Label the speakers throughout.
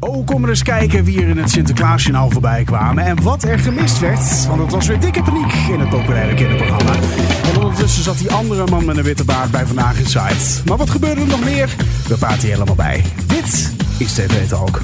Speaker 1: Oh, kom maar eens kijken wie er in het Sinterklaasjournaal voorbij kwamen en wat er gemist werd. Want het was weer dikke paniek in het populaire kinderprogramma. En ondertussen zat die andere man met een witte baard bij Vandaag in Zuid. Maar wat gebeurde er nog meer? We praten hier helemaal bij. Dit is TV Talk.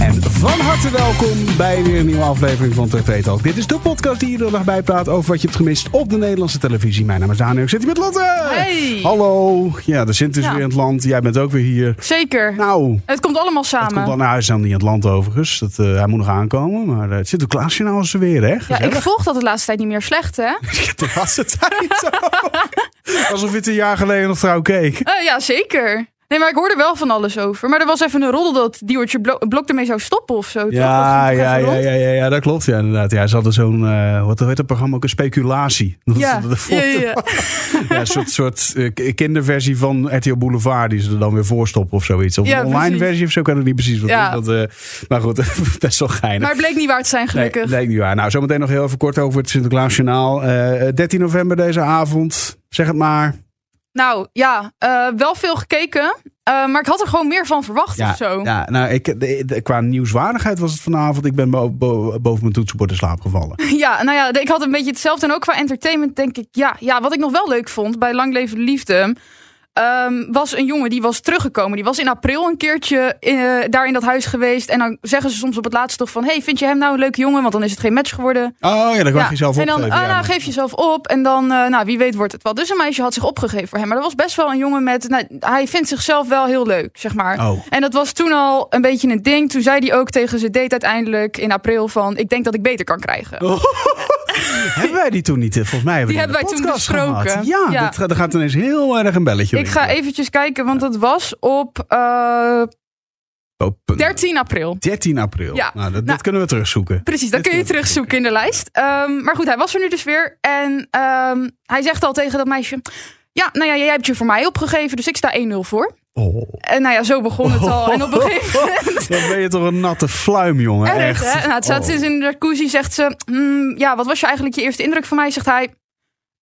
Speaker 1: En van harte welkom bij weer een nieuwe aflevering van TV Talk. Dit is de podcast die iedere dag bijpraat over wat je hebt gemist op de Nederlandse televisie. Mijn naam is Daniel, ik zit hier met Lotte.
Speaker 2: Hey.
Speaker 1: Hallo. Ja, de Sint is
Speaker 2: Ja.
Speaker 1: weer in het land. Jij bent ook weer hier.
Speaker 2: Zeker.
Speaker 1: Nou,
Speaker 2: het komt allemaal
Speaker 1: het komt
Speaker 2: samen.
Speaker 1: wel naar huis dan niet in het land overigens. Dat, eh, hij moet nog aankomen, maar eh, het zit ook Klaasje nou als er weer, hè?
Speaker 2: ja, ik
Speaker 1: Gezellig.
Speaker 2: volg dat de laatste tijd niet meer slecht, hè?
Speaker 1: De laatste tijd ook. Alsof je het een jaar geleden nog trouw keek.
Speaker 2: Eh, ja, zeker. Nee, maar ik hoorde wel van alles over. Maar er was even een roddel dat Diewertje Blo- Blok ermee zou stoppen of zo. toch?
Speaker 1: Ja, ja,
Speaker 2: Of even
Speaker 1: ja,
Speaker 2: rond.
Speaker 1: ja, ja, ja, dat klopt. Ja, inderdaad. Ja, ze hadden zo'n, eh, wat heet dat programma ook, een speculatie. Dat
Speaker 2: Ja,
Speaker 1: ze ervoor-
Speaker 2: ja, ja.
Speaker 1: Ja, een soort, soort eh, k- kinderversie van RTL Boulevard die ze er dan weer voor stoppen of zoiets. Of
Speaker 2: Ja,
Speaker 1: een online
Speaker 2: precies.
Speaker 1: versie of zo, kan het niet precies wat
Speaker 2: Ja.
Speaker 1: is. Dat, eh, maar goed, best wel geinig.
Speaker 2: Maar het bleek niet waar te zijn,
Speaker 1: Nee,
Speaker 2: gelukkig.
Speaker 1: leek niet waar. Nou, zometeen nog heel even kort over het Sinterklaasjournaal. Eh 13 november deze avond. Zeg het maar.
Speaker 2: Nou ja, eh, wel veel gekeken. eh, maar ik had er gewoon meer van verwacht of zo.
Speaker 1: ja nou, ik, de- de- qua nieuwswaardigheid was het vanavond. Ik ben bo- bo- boven mijn toetsenbord in slaap gevallen.
Speaker 2: Ja, nou ja, ik had een beetje hetzelfde. En ook qua entertainment denk ik, ja, ja wat ik nog wel leuk vond bij Lang Leven de Liefde... ehm, was een jongen die was teruggekomen. Die was in april een keertje eh, daar in dat huis geweest. En dan zeggen ze soms op het laatst toch van... hey, vind je hem nou een leuke jongen? Want dan is het geen match geworden.
Speaker 1: Oh ja, dan mag je zelf
Speaker 2: en dan
Speaker 1: opgeven.
Speaker 2: ah,
Speaker 1: ja.
Speaker 2: nou, geef jezelf op. En dan, eh, nou, wie weet wordt het wel. Dus een meisje had zich opgegeven voor hem. Maar dat was best wel een jongen met... Nou, hij vindt zichzelf wel heel leuk, zeg maar.
Speaker 1: Oh.
Speaker 2: En dat was toen al een beetje een ding. Toen zei hij ook tegen zijn date uiteindelijk in april van... ik denk dat ik beter kan krijgen.
Speaker 1: Oh. Hebben wij die toen niet? eh, Volgens mij hebben we
Speaker 2: Die
Speaker 1: in
Speaker 2: hebben
Speaker 1: de
Speaker 2: wij toen
Speaker 1: podcast
Speaker 2: besproken.
Speaker 1: gehad. Ja,
Speaker 2: Ja.
Speaker 1: Dat, gaat- er gaat ineens heel erg een belletje
Speaker 2: Ik ga
Speaker 1: rinkelen.
Speaker 2: eventjes kijken, want het was op eh,
Speaker 1: Open.
Speaker 2: 13 april.
Speaker 1: 13 april.
Speaker 2: Ja.
Speaker 1: Nou, dat, dat
Speaker 2: Nou,
Speaker 1: kunnen we terugzoeken.
Speaker 2: Precies, dat kun je terugzoeken in de lijst. Ehm, maar goed, hij was er nu dus weer. En ehm, hij zegt al tegen dat meisje... Ja, nou ja, jij hebt je voor mij opgegeven, dus ik sta 1-0 voor.
Speaker 1: Oh.
Speaker 2: En nou ja, zo begon het al. En op een gegeven moment...
Speaker 1: Dan ben je toch een natte fluim, jongen.
Speaker 2: Erg,
Speaker 1: Echt.
Speaker 2: hè? Nou, het staat
Speaker 1: Oh.
Speaker 2: dus in de jacuzzi, zegt ze... "Hmm, ja, wat was je eigenlijk je eerste indruk van mij? Zegt hij...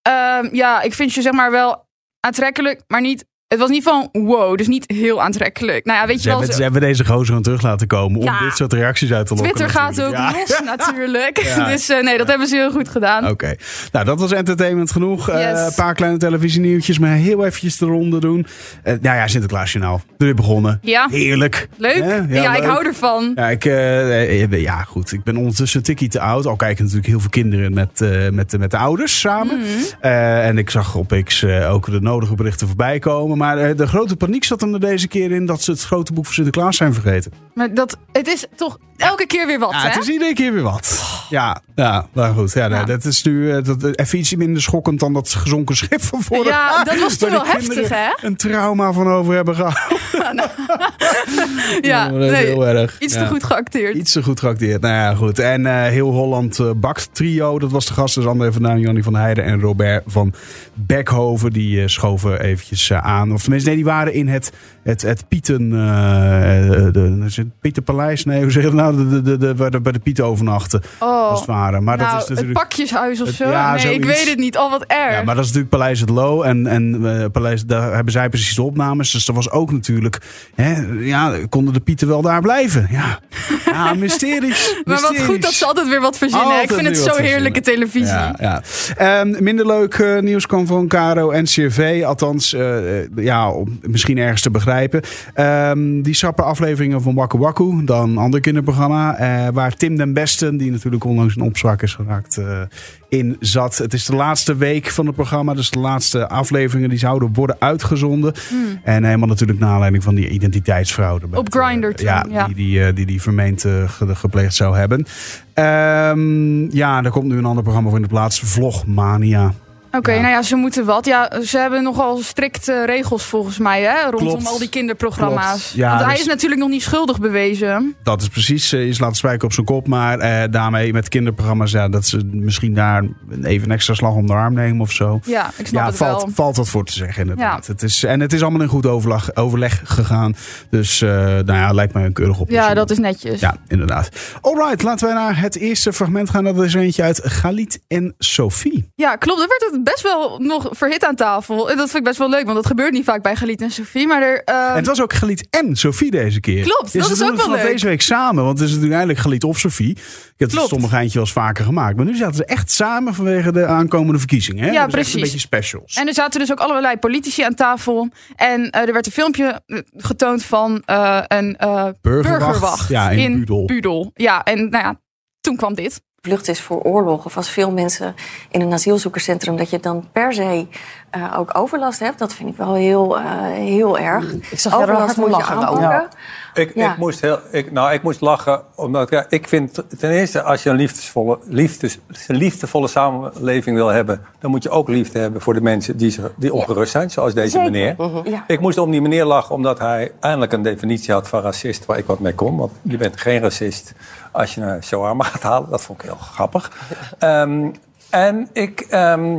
Speaker 2: "Ehm, ja, ik vind je zeg maar wel aantrekkelijk, maar niet... Het was niet van wow, dus niet heel aantrekkelijk. Nou ja, weet je
Speaker 1: Ze
Speaker 2: wel...
Speaker 1: hebben,
Speaker 2: zo-
Speaker 1: ze hebben deze gozer gewoon terug laten komen
Speaker 2: Ja.
Speaker 1: om dit soort reacties uit te lokken.
Speaker 2: Twitter gaat ook
Speaker 1: natuurlijk. Ja.
Speaker 2: los natuurlijk.
Speaker 1: Ja.
Speaker 2: Dus eh, nee, dat hebben ze heel goed gedaan.
Speaker 1: Oké, nou dat was entertainment genoeg. Eh,
Speaker 2: Yes.
Speaker 1: een paar kleine televisienieuwtjes, maar heel eventjes de ronde doen. Eh, nou ja, Sinterklaasjournaal. Er weer begonnen.
Speaker 2: Ja.
Speaker 1: Heerlijk.
Speaker 2: Leuk.
Speaker 1: Hè?
Speaker 2: Ja, ik
Speaker 1: leuk.
Speaker 2: hou ervan.
Speaker 1: Ja, ik, eh, eh, ja, goed. Ik ben ondertussen een tikkie te oud. Al kijken natuurlijk heel veel kinderen met, eh, met, met de ouders samen.
Speaker 2: Mhm.
Speaker 1: Eh, en ik zag op X eh, ook de nodige berichten voorbij komen. Maar eh, de grote paniek zat hem er deze keer in dat ze het grote boek van Sinterklaas zijn vergeten.
Speaker 2: Maar dat, het is toch elke keer weer wat,
Speaker 1: Ja,
Speaker 2: hè?
Speaker 1: het is iedere keer weer wat. Ja, ja maar goed. Ja, nee,
Speaker 2: Ja.
Speaker 1: Dat is nu eh, dat, even iets minder schokkend dan dat gezonken schip van vorig
Speaker 2: Ja,
Speaker 1: jaar,
Speaker 2: dat was toen
Speaker 1: waar die
Speaker 2: wel heftig,
Speaker 1: kinderen
Speaker 2: hè?
Speaker 1: een trauma van over hebben gehad.
Speaker 2: ja,
Speaker 1: dat is
Speaker 2: nee,
Speaker 1: heel erg.
Speaker 2: iets
Speaker 1: Ja.
Speaker 2: te goed geacteerd.
Speaker 1: Iets te goed geacteerd. Nou ja, goed. En eh, Heel Holland eh, Bakt Trio, dat was de gast. Dus André van Duin, Jannie van Heijden en Robert van Bekhoven. Die eh, schoven eventjes eh, aan. Of tenminste, nee, die waren in het, het, het Pieten... eh, eh, de- is het Pietenpaleis? Nee, hoe zeg je dat nou? De, de, de, de, waar de, bij de Pieten overnachten, als
Speaker 2: Oh,
Speaker 1: het ware. Maar
Speaker 2: nou,
Speaker 1: dat is natuurlijk...
Speaker 2: het pakjeshuis of
Speaker 1: Het-
Speaker 2: zo?
Speaker 1: ja,
Speaker 2: nee, ik
Speaker 1: zoiets.
Speaker 2: weet het niet. Al wat erg.
Speaker 1: Ja, maar dat is natuurlijk Paleis het Loo. En, en eh, Paleis, daar hebben zij precies de opnames. Dus dat was ook natuurlijk. Hè, ja, konden de Pieten wel daar blijven? Ja, ja mysteries.
Speaker 2: Maar wat
Speaker 1: mysteries.
Speaker 2: goed dat ze altijd weer wat verzinnen.
Speaker 1: Altijd
Speaker 2: ik vind het
Speaker 1: weer
Speaker 2: zo
Speaker 1: wat
Speaker 2: heerlijke televisie.
Speaker 1: Ja, ja. Ehm, minder leuk eh, nieuws kwam van Caro en CRV. Althans, eh, eh, ja, om misschien ergens te begrijpen. Ehm, die sappen afleveringen van Wakku Wakku, dan een ander kinderprogramma. eh, waar Tim den Besten, die natuurlijk onlangs in opzwak is geraakt, eh, in zat. Het is de laatste week van het programma. Dus de laatste afleveringen die zouden worden uitgezonden.
Speaker 2: Hmm.
Speaker 1: En helemaal natuurlijk naar aanleiding van die identiteitsfraude. bij
Speaker 2: Op
Speaker 1: het,
Speaker 2: Grindr
Speaker 1: eh,
Speaker 2: toen,
Speaker 1: Ja,
Speaker 2: ja.
Speaker 1: Die, die, eh, die die vermeend eh, ge- gepleegd zou hebben. Ehm, ja, er komt nu een ander programma voor in de plaats. Vlogmania.
Speaker 2: Oké,
Speaker 1: Ja.
Speaker 2: nou ja, ze moeten wat. Ja, ze hebben nogal strikte regels volgens mij, hè? Rondom
Speaker 1: Klopt.
Speaker 2: al die kinderprogramma's.
Speaker 1: Klopt. Ja,
Speaker 2: Want hij
Speaker 1: dus-
Speaker 2: is natuurlijk nog niet schuldig bewezen.
Speaker 1: Dat is precies, eh, je slaat de spijker op zijn kop. Maar eh, daarmee met kinderprogramma's, ja, dat ze misschien daar even een extra slag om de arm nemen of zo.
Speaker 2: Ja, ik snap
Speaker 1: Ja,
Speaker 2: het
Speaker 1: valt,
Speaker 2: wel.
Speaker 1: valt wat voor te zeggen inderdaad. Het is, en het is allemaal in goed overleg, overleg gegaan. Dus eh, nou ja, lijkt mij een keurig oplossing.
Speaker 2: Ja, dat is netjes.
Speaker 1: Dus- Ja, inderdaad. Alright, laten wij naar het eerste fragment gaan. Dat is eentje uit Galit en Sophie.
Speaker 2: Ja, klopt. Er werd het best wel nog verhit aan tafel. En dat vind ik best wel leuk, want dat gebeurt niet vaak bij Galit en Sophie. Maar er,
Speaker 1: En
Speaker 2: ehm,
Speaker 1: het was ook Galiet en Sophie deze keer.
Speaker 2: Klopt, dat
Speaker 1: ze
Speaker 2: is
Speaker 1: doen
Speaker 2: ook
Speaker 1: het
Speaker 2: wel
Speaker 1: vanaf
Speaker 2: leuk.
Speaker 1: deze week samen, want het is natuurlijk eigenlijk Galiet of Sophie. Ik heb het
Speaker 2: Klopt.
Speaker 1: sommige eindje wel eens vaker gemaakt. Maar nu zaten ze echt samen vanwege de aankomende verkiezingen. Hè?
Speaker 2: Ja,
Speaker 1: Dus echt een
Speaker 2: precies.
Speaker 1: beetje specials.
Speaker 2: en er zaten dus ook allerlei politici aan tafel. En eh, er werd een filmpje eh, getoond van eh, een eh,
Speaker 1: burgerwacht,
Speaker 2: burgerwacht,
Speaker 1: ja, in, Budel.
Speaker 2: Budel. Ja, en nou ja, toen kwam dit.
Speaker 3: vlucht is voor oorlog. Of als veel mensen in een asielzoekerscentrum, dat je dan per se eh, ook overlast hebt. Dat vind ik wel heel, eh, heel erg.
Speaker 4: Ik zag jou er hard om
Speaker 3: moet je
Speaker 4: lachen ook.
Speaker 3: aanpakken.
Speaker 4: Ja.
Speaker 5: Ik,
Speaker 3: Ja.
Speaker 5: ik, moest heel, ik, nou, ik moest lachen, omdat ja, ik vind ten eerste, als je een liefdesvolle, liefdes, een liefdevolle samenleving wil hebben, dan moet je ook liefde hebben voor de mensen die, ze, die ongerust zijn, zoals deze
Speaker 3: Zeker. Mhm.
Speaker 5: meneer.
Speaker 3: Ja.
Speaker 5: Ik moest om die meneer lachen, omdat hij eindelijk een definitie had van racist waar ik wat mee kon. Want je bent geen racist als je een shawarma gaat halen. Dat vond ik heel grappig. Ehm, en ik. ehm,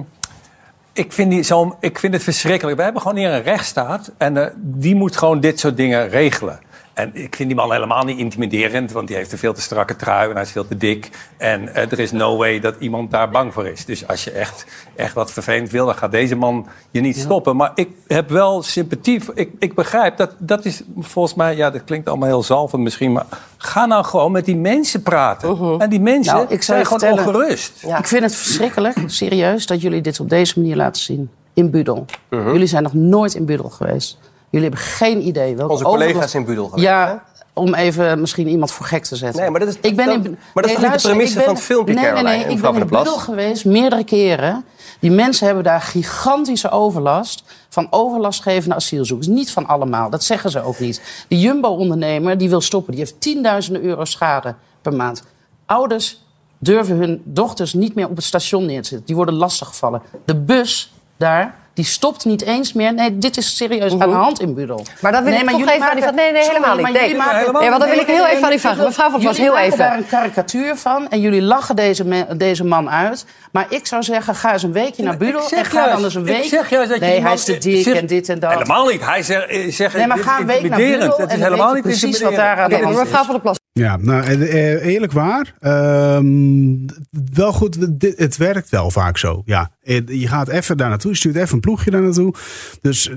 Speaker 5: ik vind, die zo, ik vind het verschrikkelijk. We hebben gewoon hier een rechtsstaat en eh, die moet gewoon dit soort dingen regelen. En ik vind die man helemaal niet intimiderend, want die heeft een veel te strakke trui en hij is veel te dik. En eh, er is no way dat iemand daar bang voor is. Dus als je echt, echt wat vervelend wil, dan gaat deze man je niet stoppen. Maar ik heb wel sympathie. voor- Ik, ik begrijp dat dat is volgens mij, ja, dat klinkt allemaal heel zalvend misschien, maar ga nou gewoon met die mensen praten. En die mensen
Speaker 4: Nou, ik zou
Speaker 5: zijn
Speaker 4: je
Speaker 5: gewoon
Speaker 4: vertellen-
Speaker 5: ongerust.
Speaker 4: Ik vind het verschrikkelijk, serieus, dat jullie dit op deze manier laten zien. In Budel.
Speaker 6: Mhm.
Speaker 4: Jullie zijn nog nooit in Budel geweest. Jullie hebben geen idee welke
Speaker 6: Onze collega's
Speaker 4: overlast-
Speaker 6: in Budel geweest, hè?
Speaker 4: Ja, om even misschien iemand voor gek te zetten.
Speaker 6: Nee, maar dat is-
Speaker 4: ik ben
Speaker 6: dat-
Speaker 4: in,
Speaker 6: maar dat is toch niet de
Speaker 4: luister, ik
Speaker 6: premisse van het filmpje,
Speaker 4: nee, nee,
Speaker 6: Caroline,
Speaker 4: nee,
Speaker 6: en
Speaker 4: ik
Speaker 6: mevrouw
Speaker 4: ben in
Speaker 6: van der
Speaker 4: Budel
Speaker 6: Plas?
Speaker 4: geweest, meerdere keren. Die mensen hebben daar gigantische overlast van overlastgevende asielzoekers. Niet van allemaal, dat zeggen ze ook niet. De Jumbo-ondernemer die wil stoppen, die heeft tienduizenden euro schade per maand. Ouders durven hun dochters niet meer op het station neer te zetten. Die worden lastiggevallen. De bus daar, die stopt niet eens meer. Nee, dit is serieus aan de hand in Budel.
Speaker 7: Mhm. Maar dat wil ik toch
Speaker 4: jullie
Speaker 7: even aan die
Speaker 4: maken-
Speaker 7: van- nee, nee,
Speaker 4: Sorry,
Speaker 7: helemaal niet.
Speaker 4: maar
Speaker 7: Nee.
Speaker 4: jullie maken-
Speaker 5: Nee, helemaal
Speaker 7: Nee, want daar wil
Speaker 4: Nee,
Speaker 7: ik heel
Speaker 4: nee,
Speaker 7: even aan
Speaker 4: nee,
Speaker 7: u vragen.
Speaker 4: ik
Speaker 7: Mevrouw van Plas,
Speaker 4: jullie
Speaker 7: heel
Speaker 4: maken daar
Speaker 7: even.
Speaker 4: een karikatuur van en jullie lachen deze, me- deze man uit. Maar ik zou zeggen, ga eens een weekje naar Budel
Speaker 5: Ik zeg
Speaker 4: en ga
Speaker 5: juist-
Speaker 4: dan eens een
Speaker 5: ik
Speaker 4: week...
Speaker 5: zeg juist dat je
Speaker 4: nee,
Speaker 5: die
Speaker 4: hij
Speaker 5: man-
Speaker 4: is te dik
Speaker 5: zeg-
Speaker 4: en dit en dat.
Speaker 5: Helemaal niet. Hij zegt, eh, zegt
Speaker 4: Nee, maar
Speaker 5: dit
Speaker 4: ga
Speaker 5: is
Speaker 4: een week naar
Speaker 5: intimiderend.
Speaker 4: Budel
Speaker 5: Het is
Speaker 4: en dan
Speaker 5: helemaal
Speaker 4: weet
Speaker 5: niet
Speaker 4: je precies wat
Speaker 5: intimiderend.
Speaker 4: daar aan de
Speaker 7: Oké,
Speaker 4: hand
Speaker 7: maar
Speaker 4: is.
Speaker 7: mevrouw van der Plas.
Speaker 1: Ja, nou, en, eh, eerlijk waar. ehm, wel goed, dit- het werkt wel vaak zo. Ja, Eh, je gaat even daar naartoe, je stuurt even een ploegje daar naartoe. Dus eh,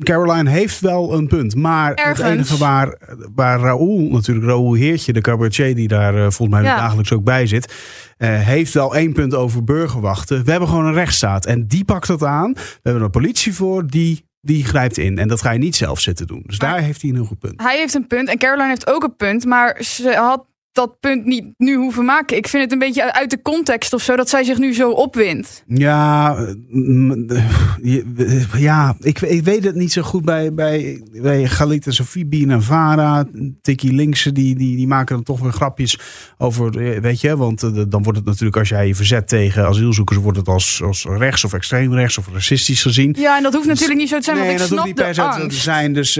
Speaker 1: Caroline heeft wel een punt. Maar
Speaker 2: Ergens.
Speaker 1: het enige waar, waar Raoul, natuurlijk Raoul Heertje, de cabaretier die daar eh, volgens mij
Speaker 2: Ja.
Speaker 1: dagelijks ook bij zit, eh, heeft wel één punt over burgerwachten. We hebben gewoon een rechtsstaat en die pakt dat aan. We hebben een politie voor, die, die grijpt in. En dat ga je niet zelf zitten doen. Dus daar heeft hij een heel goed punt.
Speaker 2: Hij heeft een punt en Caroline heeft ook een punt, maar ze had dat punt niet nu hoeven maken. Ik vind het een beetje uit de context of zo dat zij zich nu zo opwindt.
Speaker 1: Ja, eh, mm, je- ja ik, ik weet het niet zo goed bij, bij, bij Galit en Sofie, Bien en Vara. Tikkie Linkse, die, die, die maken dan toch weer grapjes over, eh, weet je. Want eh, dan wordt het natuurlijk, als jij je verzet tegen asielzoekers, wordt het als, als rechts of extreem rechts of racistisch gezien.
Speaker 2: Ja, en dat hoeft natuurlijk niet zo te zijn,
Speaker 1: Dus- nee,
Speaker 2: want ik
Speaker 1: dat hoeft
Speaker 2: snap
Speaker 1: niet per
Speaker 2: de
Speaker 1: se te
Speaker 2: angst.
Speaker 1: zijn. Dus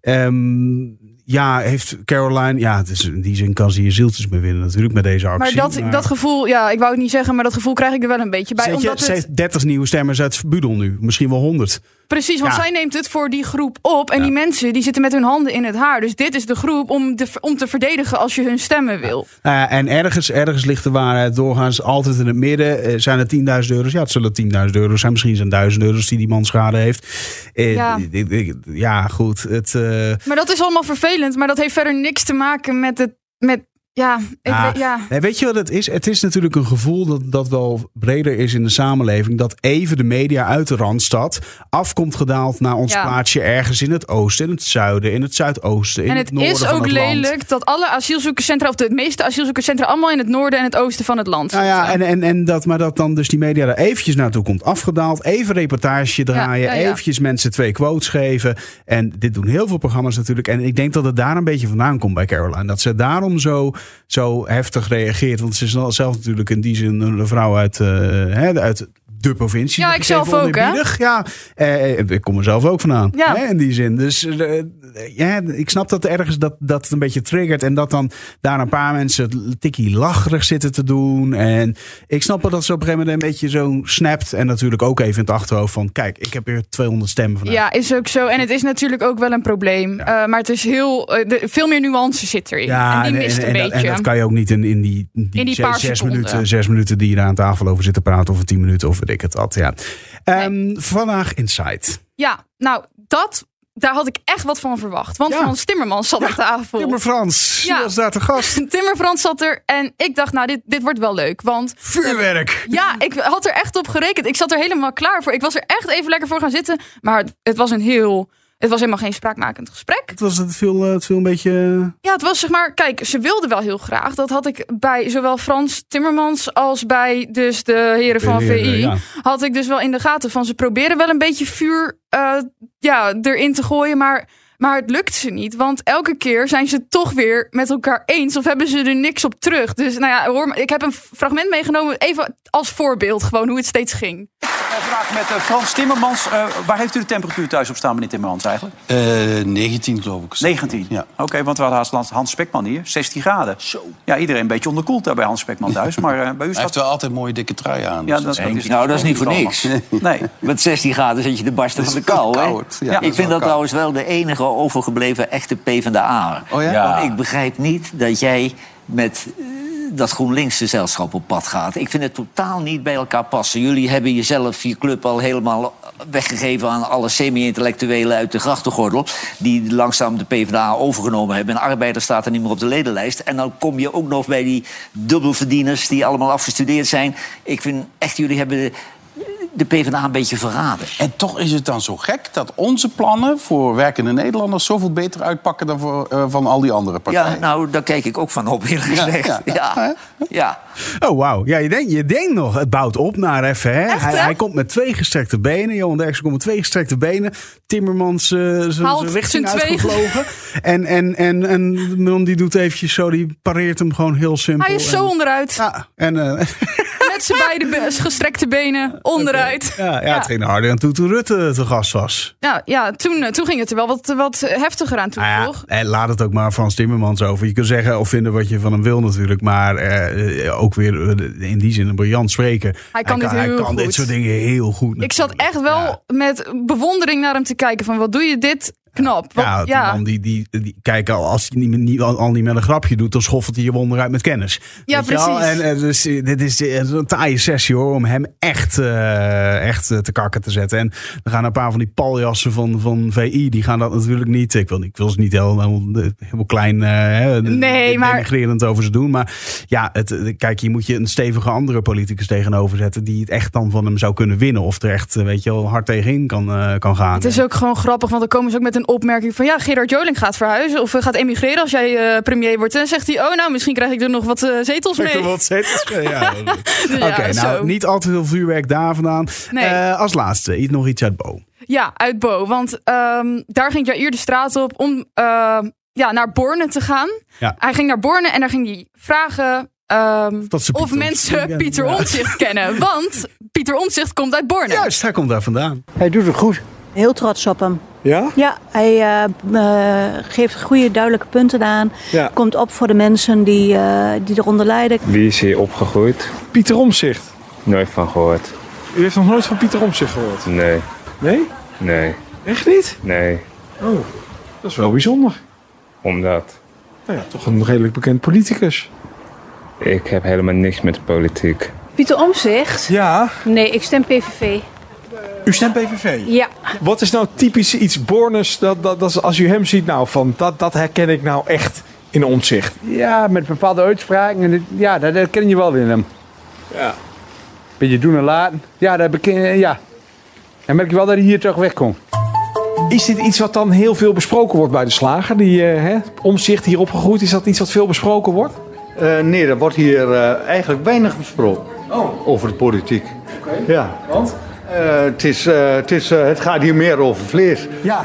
Speaker 1: eh, ehm, ja, heeft Caroline, ja, het is, in die zin kan ze je zieltjes meer winnen natuurlijk met deze actie.
Speaker 2: Maar dat, dat gevoel, ja, ik wou het niet zeggen, maar dat gevoel krijg ik er wel een beetje bij.
Speaker 1: Zet je,
Speaker 2: omdat
Speaker 1: ze
Speaker 2: het,
Speaker 1: heeft 30 nieuwe stemmers uit Budel nu. Misschien wel 100.
Speaker 2: Precies, want
Speaker 1: Ja.
Speaker 2: zij neemt het voor die groep op. En die mensen die zitten met hun handen in het haar. Dus dit is de groep om, de, om te verdedigen als je hun stemmen wil.
Speaker 1: Eh, en ergens, ergens ligt de waarheid doorgaans altijd in het midden. Eh, zijn het 10.000 euro's? Ja, het zullen 10.000 euro's zijn. Misschien zijn 1000 euro's die die man schade heeft. Eh,
Speaker 2: Ja.
Speaker 1: ik- ik- ik- ja, goed. Het, eh,
Speaker 2: Maar dat is allemaal vervelend. Maar dat heeft verder niks te maken met het. Met, ja, ik
Speaker 1: Ah.
Speaker 2: weet- ja.
Speaker 1: Nee, weet je wat het is? Het is natuurlijk een gevoel dat, dat wel breder is in de samenleving. Dat even de media uit de Randstad afkomt gedaald naar ons
Speaker 2: Ja.
Speaker 1: plaatsje ergens in het oosten, in het zuiden, in het zuidoosten, in
Speaker 2: En
Speaker 1: het,
Speaker 2: het
Speaker 1: noorden
Speaker 2: is
Speaker 1: van
Speaker 2: ook
Speaker 1: het land.
Speaker 2: lelijk dat alle asielzoekerscentra, of de meeste asielzoekerscentra, allemaal in het noorden en het oosten van het land.
Speaker 1: Nou ja, en, en, en dat, maar dat dan dus die media er eventjes naartoe komt afgedaald. Even reportage draaien,
Speaker 2: Ja, ja, ja.
Speaker 1: eventjes mensen twee quotes geven. En dit doen heel veel programma's natuurlijk. En ik denk dat het daar een beetje vandaan komt bij Caroline. Dat ze daarom zo, zo heftig reageert. Want ze is wel zelf natuurlijk in die zin een vrouw uit, eh, hè, uit de provincie.
Speaker 2: Ja,
Speaker 1: Dat
Speaker 2: ik
Speaker 1: is
Speaker 2: zelf
Speaker 1: even
Speaker 2: ook, hè?
Speaker 1: oneerbiedig. Ja, eh, ik kom er zelf ook vandaan.
Speaker 2: Ja.
Speaker 1: Hè, in die zin. Dus eh, ja, ik snap dat ergens dat, dat het een beetje triggert. En dat dan daar een paar mensen het tikkie lacherig zitten te doen. En ik snap wel dat ze op een gegeven moment een beetje zo snapt. En natuurlijk ook even in het achterhoofd van... Kijk, ik heb weer 200 stemmen vanuit.
Speaker 2: Ja, is ook zo. En het is natuurlijk ook wel een probleem. Eh, maar het is heel. eh, de- veel meer nuance zit erin.
Speaker 1: Ja,
Speaker 2: en die mist een
Speaker 1: en dat,
Speaker 2: beetje.
Speaker 1: en dat kan je ook niet in, in die, die,
Speaker 2: In die
Speaker 1: zes,
Speaker 2: paar
Speaker 1: zes
Speaker 2: seconden.
Speaker 1: minuten, zes minuten die je daar aan tafel over zit te praten. Of tien minuten of of weet ik het wat. Ja. Ehm, Vandaag Insight.
Speaker 2: Ja, nou, dat, daar had ik echt wat van verwacht. Want
Speaker 1: Ja.
Speaker 2: Frans Timmermans zat aan tafel.
Speaker 1: Timmer Frans,
Speaker 2: Ja.
Speaker 1: die was daar te gast.
Speaker 2: Timmerfrans zat er en ik dacht, nou, dit, dit wordt wel leuk. Want
Speaker 1: Vuurwerk.
Speaker 2: ja, ik had er echt op gerekend. Ik zat er helemaal klaar voor. Ik was er echt even lekker voor gaan zitten. Maar het, het was een heel... Het was helemaal geen spraakmakend gesprek.
Speaker 1: Het, was, het, viel, eh, het viel een beetje...
Speaker 2: Ja, het was zeg maar... Kijk, ze wilden wel heel graag. Dat had ik bij zowel Frans Timmermans als bij dus de heren van
Speaker 1: De heren,
Speaker 2: VI.
Speaker 1: ja.
Speaker 2: Had ik dus wel in de gaten van ze proberen wel een beetje vuur eh, ja, erin te gooien. Maar, maar het lukt ze niet. Want elke keer zijn ze toch weer met elkaar eens. Of hebben ze er niks op terug. Dus nou ja, hoor, maar, ik heb een fragment meegenomen. Even als voorbeeld gewoon hoe het steeds ging.
Speaker 6: Een vraag met eh, Frans Timmermans. Eh, waar heeft u de temperatuur thuis op staan, meneer Timmermans, eigenlijk?
Speaker 7: Eh, 19 geloof ik.
Speaker 6: 19?
Speaker 7: Ja.
Speaker 6: Oké, want we hadden haast laatst Hans Spekman hier. 16 graden.
Speaker 7: Zo.
Speaker 6: Ja, iedereen een beetje onderkoeld daar bij Hans Spekman thuis. Maar eh, bij u
Speaker 7: Hij heeft
Speaker 6: staat...
Speaker 7: wel altijd mooie dikke trui aan.
Speaker 6: Ja,
Speaker 7: dus
Speaker 6: dat,
Speaker 7: is-
Speaker 6: is
Speaker 8: Nou, dat is niet voor niks.
Speaker 6: Nee.
Speaker 8: Met 16 graden zit je de barsten van de
Speaker 7: wel
Speaker 8: kou, hè?
Speaker 7: koud. Ja, dat is
Speaker 8: ik vind dat
Speaker 7: wel koud.
Speaker 8: trouwens wel de enige overgebleven echte PvdA.
Speaker 7: Oh ja?
Speaker 8: Want ik begrijp niet dat jij met eh, dat GroenLinks gezelschap op pad gaat. Ik vind het totaal niet bij elkaar passen. Jullie hebben jezelf, je club, al helemaal weggegeven... aan alle semi-intellectuelen uit de grachtengordel... die langzaam de PvdA overgenomen hebben. En arbeider staat er niet meer op de ledenlijst. En dan kom je ook nog bij die dubbelverdieners... die allemaal afgestudeerd zijn. Ik vind echt, jullie hebben... de- de PvdA een beetje verraden.
Speaker 7: En toch is het dan zo gek dat onze plannen voor werkende Nederlanders zoveel beter uitpakken dan voor, eh, van al die andere partijen.
Speaker 8: Ja, nou, daar kijk ik ook van op, eerlijk gezegd. Ja,
Speaker 7: ja.
Speaker 8: ja,
Speaker 7: Ja,
Speaker 1: Oh, wauw. Ja, je denkt je denkt nog, het bouwt op naar even. Hè?
Speaker 2: Echt,
Speaker 1: hij,
Speaker 2: hè?
Speaker 1: hij komt met twee gestrekte benen. Johan Derksen komt met twee gestrekte benen. Timmermans eh, zijn- zijn
Speaker 2: Haalt
Speaker 1: richting
Speaker 2: zijn twee-
Speaker 1: uitgevlogen. En, en, en, en Milon die doet eventjes zo, die pareert hem gewoon heel simpel.
Speaker 2: Hij is zo
Speaker 1: En-
Speaker 2: onderuit.
Speaker 1: Ja, en, eh,
Speaker 2: Met zijn beide be- gestrekte benen onderuit.
Speaker 1: ja, ja, het ging harder aan toe toen Rutte te gast was.
Speaker 2: Nou ja, toen, eh, toen ging het er wel wat, wat heftiger aan toe,
Speaker 1: Nou ja,
Speaker 2: toch?
Speaker 1: eh, laat het ook maar Frans Timmermans over. Je kunt zeggen of vinden wat je van hem wil natuurlijk. Maar eh, eh, ook weer eh, in die zin een briljant spreker.
Speaker 2: Hij kan dit heel
Speaker 1: kan dit
Speaker 2: goed.
Speaker 1: soort dingen heel goed.
Speaker 2: Ik zat echt wel met bewondering naar hem te kijken van wat doe je dit knap. Want,
Speaker 1: Ja, die
Speaker 2: ja,
Speaker 1: man die, die, die kijk, al als hij niet, niet, al, al niet met een grapje doet, dan schoffelt hij je wonder uit met kennis.
Speaker 2: Ja,
Speaker 1: Weet je wel?
Speaker 2: precies.
Speaker 1: En, eh, dus, eh, dit is eh, een taaie sessie hoor, om hem echt, eh, echt eh, te kakken te zetten. En er gaan een paar van die paljassen van, van VI, die gaan dat natuurlijk niet. Ik wil, ik wil ze niet helemaal, helemaal klein, eh, hè,
Speaker 2: Nee, maar-
Speaker 1: denigrerend over ze doen. Maar ja, het, eh, kijk, hier moet je een stevige andere politicus tegenover zetten, die het echt dan van hem zou kunnen winnen. Of er echt, eh, weet je wel, hard tegenin kan, eh, kan gaan.
Speaker 2: het is ook gewoon grappig, want dan komen ze ook met een opmerking van ja, Gerard Joling gaat verhuizen of eh, gaat emigreren als jij eh, premier wordt. En dan zegt hij, oh nou, misschien krijg ik er nog wat eh, zetels
Speaker 1: Ik
Speaker 2: mee.
Speaker 1: wil wat zetels mee, ja.
Speaker 2: Dus
Speaker 1: Oké,
Speaker 2: ja,
Speaker 1: nou
Speaker 2: zo.
Speaker 1: niet al te veel vuurwerk daar vandaan.
Speaker 2: Nee.
Speaker 1: Eh, als laatste, iets- nog iets uit Bo.
Speaker 2: Ja, uit Bo. Want ehm, daar ging Jair de straat op om ehm, ja, naar Borne te gaan.
Speaker 1: Ja.
Speaker 2: Hij ging naar Borne en daar ging hij vragen ehm,
Speaker 1: Dat ze Pieter
Speaker 2: of
Speaker 1: Omtzigt
Speaker 2: mensen
Speaker 1: kennen,
Speaker 2: Pieter
Speaker 1: ja.
Speaker 2: Omtzigt kennen. Want Pieter Omtzigt komt uit Borne.
Speaker 1: Juist, hij komt daar vandaan.
Speaker 9: Hij doet het goed.
Speaker 10: Heel trots op hem.
Speaker 9: Ja?
Speaker 10: Ja, hij eh, eh, geeft goede, duidelijke punten aan.
Speaker 9: Ja.
Speaker 10: Komt op voor de mensen die, eh, die eronder lijden.
Speaker 11: Wie is hier opgegroeid?
Speaker 9: Pieter Omzicht.
Speaker 11: Nooit van gehoord.
Speaker 9: U heeft nog nooit van Pieter Omzicht gehoord?
Speaker 11: Nee,
Speaker 9: Nee?
Speaker 11: nee,
Speaker 9: Echt niet?
Speaker 11: nee.
Speaker 9: Oh, dat is wel bijzonder.
Speaker 11: Omdat
Speaker 9: Nou ja, toch een redelijk bekend politicus.
Speaker 11: ik heb helemaal niks met de politiek.
Speaker 10: Pieter Omzicht?
Speaker 9: Ja.
Speaker 10: Nee, ik stem PVV.
Speaker 9: U stemt PVV.
Speaker 10: Ja.
Speaker 9: Wat is nou typisch iets Bornes dat, dat, dat is als u hem ziet nou van dat, dat herken ik nou echt in Omzicht?
Speaker 12: Ja, met bepaalde uitspraken. En dit- ja, dat, dat ken je wel in hem.
Speaker 9: Ja.
Speaker 12: Beetje doen en laten. Ja, dat beken, ja. Dan merk je wel dat hij hier toch wegkomt.
Speaker 9: Is dit iets wat dan heel veel besproken wordt bij de slager? Die eh, hè, Omzicht hier opgegroeid, is dat iets wat veel besproken wordt?
Speaker 12: Eh, nee, er wordt hier eh, eigenlijk weinig besproken
Speaker 9: Oh.
Speaker 12: over de politiek. Ja.
Speaker 9: Want?
Speaker 12: Eh, het, is, het, is, eh, het gaat hier meer over vlees.
Speaker 9: Ja.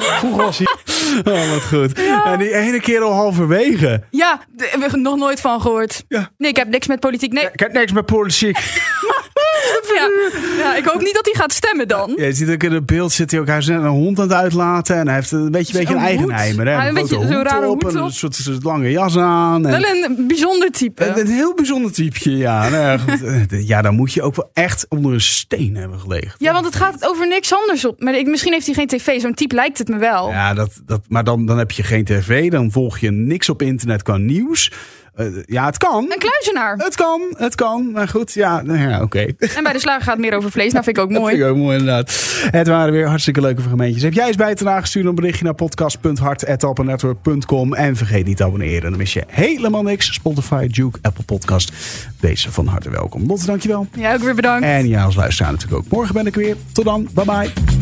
Speaker 9: Vroeger was hij
Speaker 1: Oh, wat goed. En die ene keer al halverwege.
Speaker 2: Ja, d- we hebben er nog nooit van gehoord.
Speaker 1: Ja.
Speaker 2: Nee, ik heb niks met politiek. Nee,
Speaker 1: Ik heb niks met politiek.
Speaker 2: ja. Ja, ik hoop niet dat hij gaat stemmen dan.
Speaker 1: Ja, je ziet ook in het beeld zit hij ook. Hij is net een hond aan het uitlaten. En hij heeft een beetje, beetje een
Speaker 2: Zo'n
Speaker 1: eigenheimer. hè.
Speaker 2: hoed. Ja, een
Speaker 1: grote
Speaker 2: beetje zo'n rare
Speaker 1: op,
Speaker 2: hoed
Speaker 1: en
Speaker 2: op.
Speaker 1: Een soort, soort lange jas aan. En...
Speaker 2: Wel een bijzonder type.
Speaker 1: Een, een heel bijzonder typeje, ja. Nou ja, goed. ja, dan moet je ook wel echt onder een steen hebben gelegen.
Speaker 2: Ja, want het gaat over niks anders op. Maar ik, misschien heeft hij geen tv. Zo'n type lijkt het me wel.
Speaker 1: Ja, dat, dat, maar dan, dan heb je geen tv, dan volg je niks op internet qua nieuws. Eh, Eh, ja, het kan.
Speaker 2: Een kluizenaar.
Speaker 1: Het kan, het kan. Maar goed, ja, nou ja oké.
Speaker 2: En bij de slager gaat het meer over vlees. Nou, vind ik ook
Speaker 1: Dat
Speaker 2: mooi.
Speaker 1: vind ik ook mooi, inderdaad. Het waren weer hartstikke leuke fragmentjes. Heb jij eens bij te dragen, stuur dan een berichtje naar podcast.hart.appennetwork.com. En vergeet niet te abonneren. Dan mis je helemaal niks. Spotify, Duke, Apple Podcast. Deze van harte welkom. Lotte, dankjewel.
Speaker 2: Jij ook weer bedankt.
Speaker 1: En ja, als luisteraar natuurlijk ook. Morgen ben ik er weer. Tot dan. Bye bye.